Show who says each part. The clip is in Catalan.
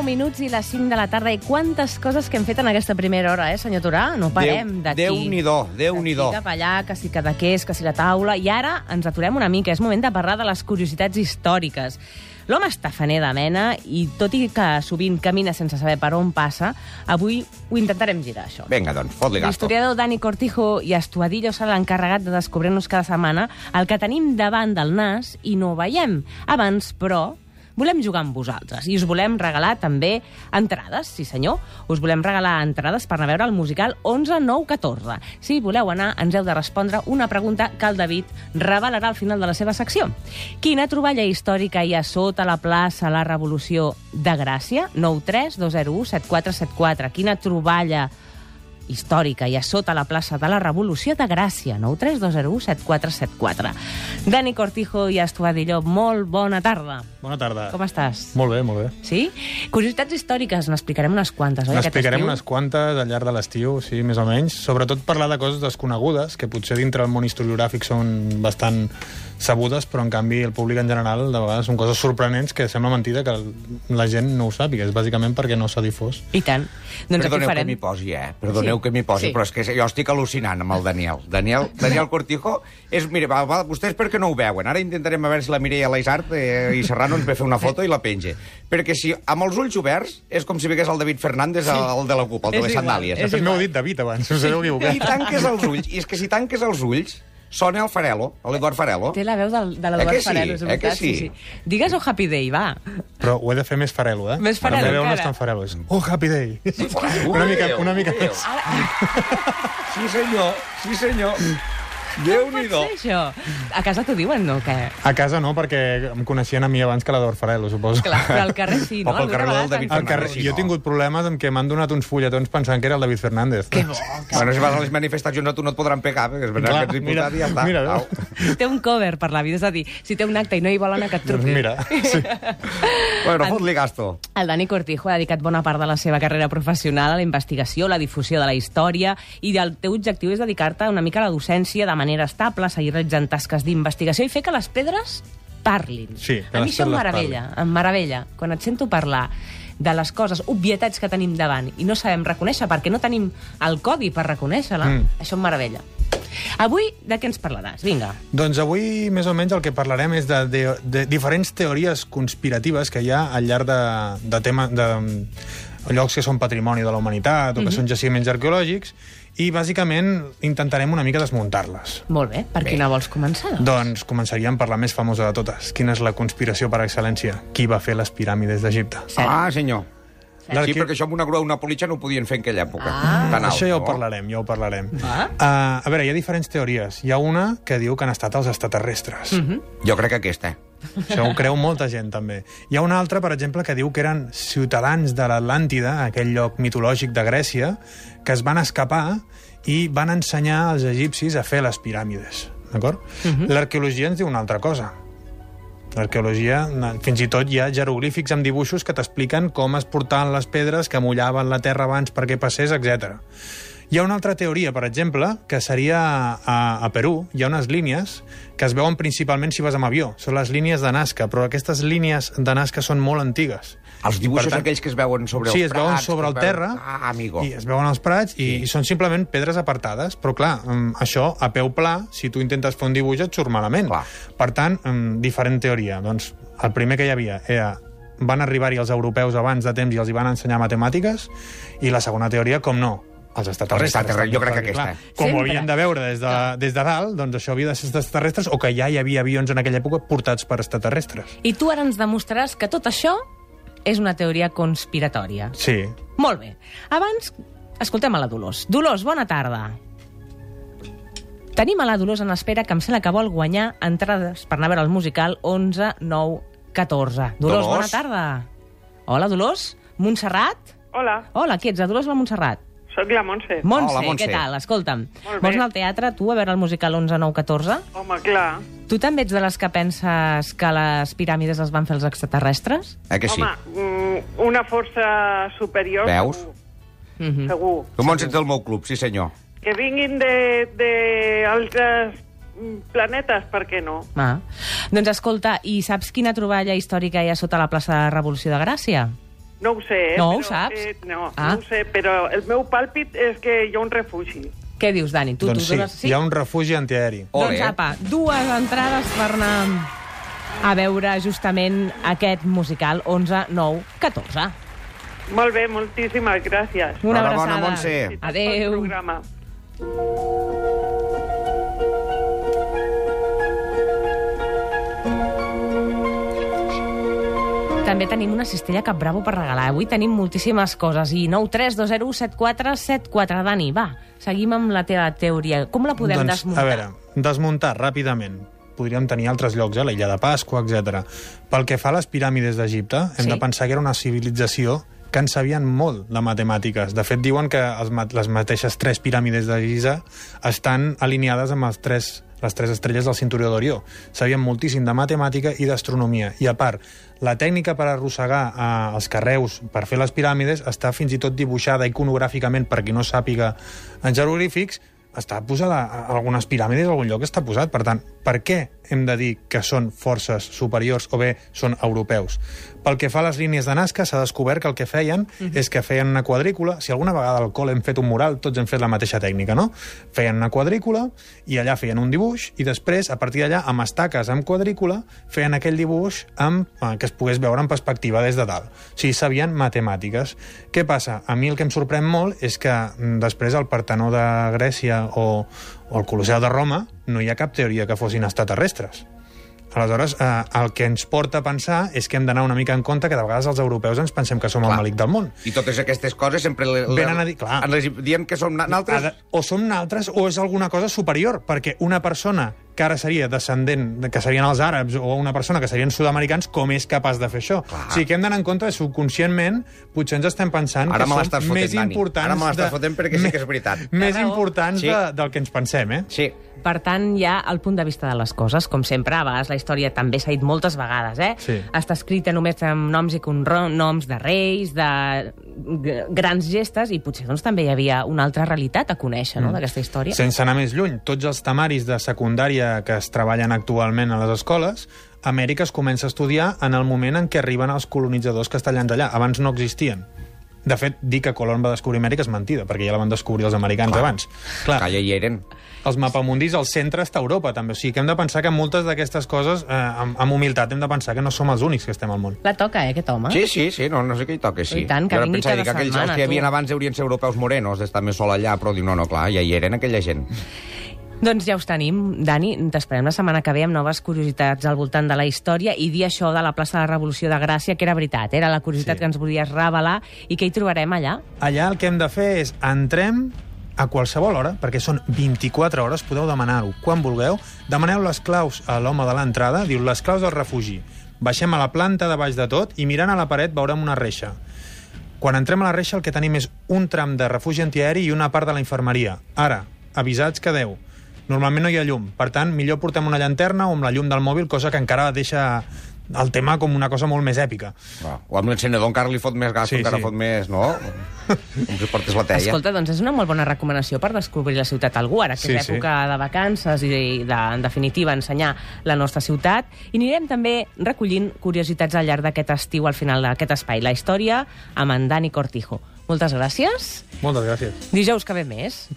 Speaker 1: minuts i les 5 de la tarda. I quantes coses que hem fet en aquesta primera hora, eh, senyor Torà? No parem d'aquí.
Speaker 2: Déu-n'hi-do, Déu-n'hi-do.
Speaker 1: D'aquí cap allà, que si Cadaqués, que si la taula... I ara ens aturem una mica, és moment de parlar de les curiositats històriques. L'home està faner de mena i, tot i que sovint camina sense saber per on passa, avui ho intentarem girar, això.
Speaker 2: Vinga, doncs, fot-li gasto.
Speaker 1: L'historiador Dani Cortijo i Estuadillo serà l'encarregat de descobrir-nos cada setmana el que tenim davant del nas i no ho veiem. Abans, però, volem jugar amb vosaltres i us volem regalar també entrades, sí senyor. Us volem regalar entrades per anar a veure el musical 11-9-14. Si voleu anar, ens heu de respondre una pregunta que el David revelarà al final de la seva secció. Quina troballa històrica hi ha sota la plaça La Revolució de Gràcia? 932017474. Quina troballa històrica i a sota la plaça de la Revolució de Gràcia, 932017474. Dani Cortijo i Estuadillo, molt bona tarda.
Speaker 3: Bona tarda.
Speaker 1: Com estàs?
Speaker 3: Molt bé, molt bé.
Speaker 1: Sí? Curiositats històriques, n'explicarem unes quantes, oi? aquest
Speaker 3: N'explicarem
Speaker 1: estiu?
Speaker 3: unes quantes al llarg de l'estiu, sí, més o menys. Sobretot parlar de coses desconegudes, que potser dintre del món historiogràfic són bastant sabudes, però en canvi el públic en general de vegades són coses sorprenents que sembla mentida que la gent no ho sàpiga. És bàsicament perquè no s'ha difós.
Speaker 1: I tant. Doncs
Speaker 2: Perdoneu
Speaker 1: aquí
Speaker 2: que
Speaker 1: farem...
Speaker 2: m'hi posi, eh? Perdoneu
Speaker 1: Sí.
Speaker 2: que m'hi posi,
Speaker 1: Sí.
Speaker 2: però és que jo estic al·lucinant amb el Daniel. Daniel, Daniel Cortijo és... Mira, va, va, vostès perquè no ho veuen. Ara intentarem a veure si la Mireia Leisart eh, i Serrano ens ve fer una foto i la penja. Perquè si amb els ulls oberts és com si vegués el David Fernández, el, el de la CUP, el
Speaker 1: És
Speaker 2: de les
Speaker 1: igual,
Speaker 2: sandàlies.
Speaker 1: és
Speaker 3: De fet, m'heu dit David abans, us heu
Speaker 2: I
Speaker 3: equivocat.
Speaker 2: tanques els ulls. I és que si tanques els ulls, sona el Farelo, l'Eduard Farelo.
Speaker 1: Té la veu del, de
Speaker 2: Eh
Speaker 1: l'Eduard
Speaker 2: que sí?
Speaker 1: Farelo, és
Speaker 2: Eh
Speaker 1: veritat.
Speaker 2: que sí?
Speaker 1: Digues o Happy Day, va.
Speaker 3: Però ho he de fer més farelo, eh?
Speaker 1: Més farelo,
Speaker 3: La meva veu no
Speaker 1: encara.
Speaker 3: és tan farelo. És, oh, happy day! una mica, una mica més.
Speaker 2: Sí, senyor, sí, senyor.
Speaker 1: Mm.
Speaker 2: Déu-n'hi-do.
Speaker 1: Pot ser això? A casa t'ho diuen, no? Que...
Speaker 3: A casa no, perquè em coneixien a mi abans que la d'Or Farelo, suposo.
Speaker 1: Clar, però al carrer sí, no?
Speaker 2: O pel
Speaker 1: Alguna
Speaker 2: carrer del
Speaker 1: vegada
Speaker 2: David
Speaker 1: t'han-
Speaker 3: Al carrer,
Speaker 2: Fernández, sí,
Speaker 3: jo
Speaker 2: no.
Speaker 3: he tingut problemes amb què m'han donat uns fulletons pensant que era el David Fernández. Doncs Que bo!
Speaker 2: Bueno, si vas a les manifestacions a tu no et podran pegar, perquè és veritat
Speaker 3: Clar,
Speaker 2: que ets diputat
Speaker 3: mira,
Speaker 2: i ja està.
Speaker 3: mira,
Speaker 2: Au.
Speaker 1: Té un cover per la vida, és a dir, si té un acte i no hi vol anar, que et
Speaker 3: Doncs
Speaker 1: truqui.
Speaker 3: mira, sí.
Speaker 2: Bueno, fot-li gasto.
Speaker 1: El Dani Cortijo ha dedicat bona part de la seva carrera professional a la investigació, la difusió de la història i el teu objectiu és dedicar-te una mica a la docència de manera estable, seguir realitzant tasques d'investigació i fer que les pedres parlin.
Speaker 3: Sí, que
Speaker 1: a mi
Speaker 3: les
Speaker 1: això em
Speaker 3: pedres
Speaker 1: meravella, em meravella. Quan et sento parlar de les coses, obvietats que tenim davant i no sabem reconèixer perquè no tenim el codi per reconèixer-la,
Speaker 3: Mm.
Speaker 1: això em meravella. Avui de què ens parlaràs? Vinga.
Speaker 3: Doncs avui, més o menys, el que parlarem és de, de, de diferents teories conspiratives que hi ha al llarg de, de, tema, de llocs que són patrimoni de la humanitat o que són jaciments arqueològics i, bàsicament, intentarem una mica desmuntar-les.
Speaker 1: Molt bé, per
Speaker 2: Bé.
Speaker 1: quina vols començar? doncs?
Speaker 3: Doncs començaríem per la més famosa de totes. Quina és la conspiració per excel·lència? Qui va fer les piràmides d'Egipte?
Speaker 1: Cert.
Speaker 2: Ah, senyor. Sí,
Speaker 3: L'arque-
Speaker 2: perquè això amb una grua o una politxa no ho podien fer en aquella època.
Speaker 1: Ah.
Speaker 2: Tan alt,
Speaker 3: Això ja ho
Speaker 2: no?
Speaker 3: parlarem, ja ho parlarem.
Speaker 1: Ah.
Speaker 3: Uh, a veure, hi ha diferents teories. Hi ha una que diu que han estat els extraterrestres. Mm -hmm.
Speaker 2: Jo crec que eh? aquesta.
Speaker 3: Això ho creu molta gent, també. Hi ha una altra, per exemple, que diu que eren ciutadans de l'Atlàntida, aquell lloc mitològic de Grècia, que es van escapar i van ensenyar als egipcis a fer les piràmides. D'acord? L'arqueologia ens diu una altra cosa. L'arqueologia, na- fins i tot hi ha jeroglífics amb dibuixos que t'expliquen com es portaven les pedres, que mullaven la terra abans perquè passés, etc. Hi ha una altra teoria, per exemple, que seria a, a Perú. Hi ha unes línies que es veuen principalment si vas amb avió. Són les línies de Nazca, però aquestes línies de Nazca són molt antigues.
Speaker 2: Els dibuixos
Speaker 3: Per tant-
Speaker 2: aquells que es veuen sobre
Speaker 3: sí,
Speaker 2: els
Speaker 3: es veuen
Speaker 2: prats,
Speaker 3: sobre
Speaker 2: que
Speaker 3: el
Speaker 2: es veuen-
Speaker 3: terra
Speaker 2: Ah, amigo.
Speaker 3: i es veuen els prats i, i són simplement pedres apartades. Però clar, mm, això a peu pla, si tu intentes fer un dibuix et surt malament.
Speaker 2: Clar.
Speaker 3: Per tant, mm, diferent teoria. Doncs el primer que hi havia era van arribar-hi els europeus abans de temps i els hi van ensenyar matemàtiques i la segona teoria, com no, els extraterrestres.
Speaker 2: extraterrestres, jo crec que
Speaker 3: Perquè,
Speaker 2: aquesta.
Speaker 3: Clar, com ho
Speaker 1: Sempre.
Speaker 3: havien de veure des de, des de dalt, doncs això havia de ser extraterrestres o que ja hi havia avions en aquella època portats per extraterrestres.
Speaker 1: I tu ara ens demostraràs que tot això és una teoria conspiratòria.
Speaker 3: Sí.
Speaker 1: Molt bé. Abans, escoltem a la Dolors. Dolors, bona tarda. Tenim a la Dolors en espera, que em sembla que vol guanyar entrades per anar a veure el musical 11, 9, 14. Dolors,
Speaker 2: Dolors?
Speaker 1: bona tarda. Hola, Dolors. Montserrat?
Speaker 4: Hola,
Speaker 1: Hola, qui ets? La Dolors o la Montserrat?
Speaker 4: sóc la Montse.
Speaker 1: Montse,
Speaker 2: Hola, Montse.
Speaker 1: què tal? Escolta'm,
Speaker 4: Molt bé.
Speaker 1: vols anar al teatre, tu, a veure el musical 11, 9, 14?
Speaker 4: Home, clar.
Speaker 1: Tu també ets de les que penses que les piràmides les van fer els extraterrestres?
Speaker 2: Eh que sí?
Speaker 4: Home, mm, una força superior...
Speaker 2: Veus?
Speaker 4: Segur.
Speaker 1: Mhm.
Speaker 4: segur.
Speaker 2: Tu m'ho ets del meu club, sí senyor.
Speaker 4: Que vinguin d'altres de, de altres, mm, planetes, per què no?
Speaker 1: Ah. Doncs escolta, i saps quina troballa històrica hi ha sota la plaça de la Revolució de Gràcia?
Speaker 4: No ho sé, eh?
Speaker 1: No ho
Speaker 4: però,
Speaker 1: saps?
Speaker 4: Eh, no,
Speaker 1: Ah.
Speaker 4: ah. no ho sé, però el meu pàlpit és que hi ha un refugi.
Speaker 1: Què dius, Dani? Tu,
Speaker 3: doncs
Speaker 1: tu dones...
Speaker 3: sí, hi ha un refugi antiaeri.
Speaker 2: Ole. eh?
Speaker 1: Doncs apa, dues entrades per anar a veure justament aquest musical 11, 9, 14.
Speaker 4: Molt bé, moltíssimes gràcies.
Speaker 1: Una
Speaker 2: Enhorabona,
Speaker 1: abraçada.
Speaker 2: Montse.
Speaker 4: Bon
Speaker 1: Adéu.
Speaker 4: programa.
Speaker 1: També tenim una cistella cap bravo per regalar. Avui tenim moltíssimes coses. I 9 3 2 0 7 4 7 4. Dani, va, seguim amb la teva teoria. Com la podem
Speaker 3: doncs,
Speaker 1: desmuntar?
Speaker 3: A veure, desmuntar ràpidament. Podríem tenir altres llocs, a l'illa de Pasqua, etc. Pel que fa a les piràmides d'Egipte, hem
Speaker 1: Sí.
Speaker 3: de pensar que era una civilització que en sabien molt de matemàtiques. De fet, diuen que els, ma- les mateixes tres piràmides de Giza estan alineades amb els tres, les tres estrelles del cinturó d'Orió. Sabien moltíssim de matemàtica i d'astronomia. I a part, la tècnica per arrossegar eh, els carreus per fer les piràmides està fins i tot dibuixada iconogràficament, per qui no sàpiga en jeroglífics, està posada a algunes piràmides, a algun lloc està posat. Per tant, per què hem de dir que són forces superiors o bé són europeus? Pel que fa a les línies de Nazca, s'ha descobert que el que feien és que feien una quadrícula. Si alguna vegada al col hem fet un mural, tots hem fet la mateixa tècnica, no? Feien una quadrícula i allà feien un dibuix i després, a partir d'allà, amb estaques amb quadrícula, feien aquell dibuix amb, eh, que es pogués veure en perspectiva des de dalt. O sigui, sabien matemàtiques. Què passa? A mi el que em sorprèn molt és que mm, després al Partenó de Grècia o, o al Colosseu de Roma no hi ha cap teoria que fossin extraterrestres. Aleshores, eh, el que ens porta a pensar és que hem d'anar una mica en compte que de vegades els europeus ens pensem que som Clar.
Speaker 2: Clar.
Speaker 3: el malic del món.
Speaker 2: I totes aquestes coses sempre... Le, le,
Speaker 3: Venen a dir- clar.
Speaker 2: ens les diem que som na-
Speaker 3: Ha
Speaker 2: naltres...
Speaker 3: de- O som naltres o és alguna cosa superior, perquè una persona que ara seria descendent, que serien els àrabs, o una persona que serien sud-americans, com és capaç de fer això?
Speaker 2: Clar.
Speaker 3: O sigui, que hem d'anar en compte que subconscientment potser ens estem pensant
Speaker 2: Ara
Speaker 3: que
Speaker 2: me
Speaker 3: som
Speaker 2: l'estàs fotent,
Speaker 3: més
Speaker 2: Dani.
Speaker 3: importants...
Speaker 2: Ara me l'estàs
Speaker 3: de-
Speaker 2: fotent perquè sí
Speaker 3: me-
Speaker 2: que és veritat.
Speaker 3: Més
Speaker 1: Té raó.
Speaker 3: importants
Speaker 2: Sí.
Speaker 3: de, del que ens pensem, eh?
Speaker 2: Sí.
Speaker 1: Per tant, hi ha el punt de vista de les coses. Com sempre, a vegades la història també s'ha dit moltes vegades, eh?
Speaker 3: Sí.
Speaker 1: Està escrita només amb noms i noms de reis, de g- grans gestes, i potser doncs, també hi havia una altra realitat a conèixer,
Speaker 3: Mm.
Speaker 1: no?, d'aquesta història.
Speaker 3: Sense anar més lluny, tots els temaris de secundària que es treballen actualment a les escoles, Amèrica es comença a estudiar en el moment en què arriben els colonitzadors castellans allà. Abans no existien. De fet, dir que Colón va descobrir Amèrica és mentida, perquè ja la van descobrir els americans Clar. abans. Clar,
Speaker 2: Calla hi eren.
Speaker 3: els mapamundis, el centre està a Europa, també. O sigui que hem de pensar que moltes d'aquestes coses, eh, amb, amb humilitat, hem de pensar que no som els únics que estem al món.
Speaker 1: La toca, eh, aquest home?
Speaker 2: Sí, sí, sí, no, no sé què hi toca, sí.
Speaker 1: I tant, que
Speaker 2: Jo ara
Speaker 1: vingui cada
Speaker 2: pensava dir que aquells
Speaker 1: setmana,
Speaker 2: els que hi havia
Speaker 1: tu.
Speaker 2: abans haurien ser europeus morenos, d'estar més sol allà, però diu, no, no, clar, ja hi eren aquella gent.
Speaker 1: Doncs ja us tenim, Dani. T'esperem la setmana que ve amb noves curiositats al voltant de la història i dir això de la plaça de la Revolució de Gràcia, que era veritat, era la curiositat
Speaker 3: Sí.
Speaker 1: que ens volies revelar i que hi trobarem allà.
Speaker 3: Allà el que hem de fer és entrem a qualsevol hora, perquè són 24 hores, podeu demanar-ho quan vulgueu. Demaneu les claus a l'home de l'entrada, diu les claus del refugi. Baixem a la planta de baix de tot i mirant a la paret veurem una reixa. Quan entrem a la reixa el que tenim és un tram de refugi antiaeri i una part de la infermeria. Ara, avisats que deu. Normalment no hi ha llum, per tant, millor portem una llanterna o amb la llum del mòbil, cosa que encara deixa el tema com una cosa molt més èpica.
Speaker 2: Va, O amb l'encenedor encara li fot més gas,
Speaker 3: Sí,
Speaker 2: sí, encara
Speaker 3: sí.
Speaker 2: sí. fot més, no? Com si portes la teia.
Speaker 1: Escolta, doncs és una molt bona recomanació per descobrir la ciutat a algú, ara que sí, és
Speaker 3: Sí, sí.
Speaker 1: època de vacances i, de, en definitiva, ensenyar la nostra ciutat. I anirem també recollint curiositats al llarg d'aquest estiu, al final d'aquest espai, la història amb en Dani Cortijo. Moltes gràcies.
Speaker 3: Moltes gràcies.
Speaker 1: Dijous que ve més.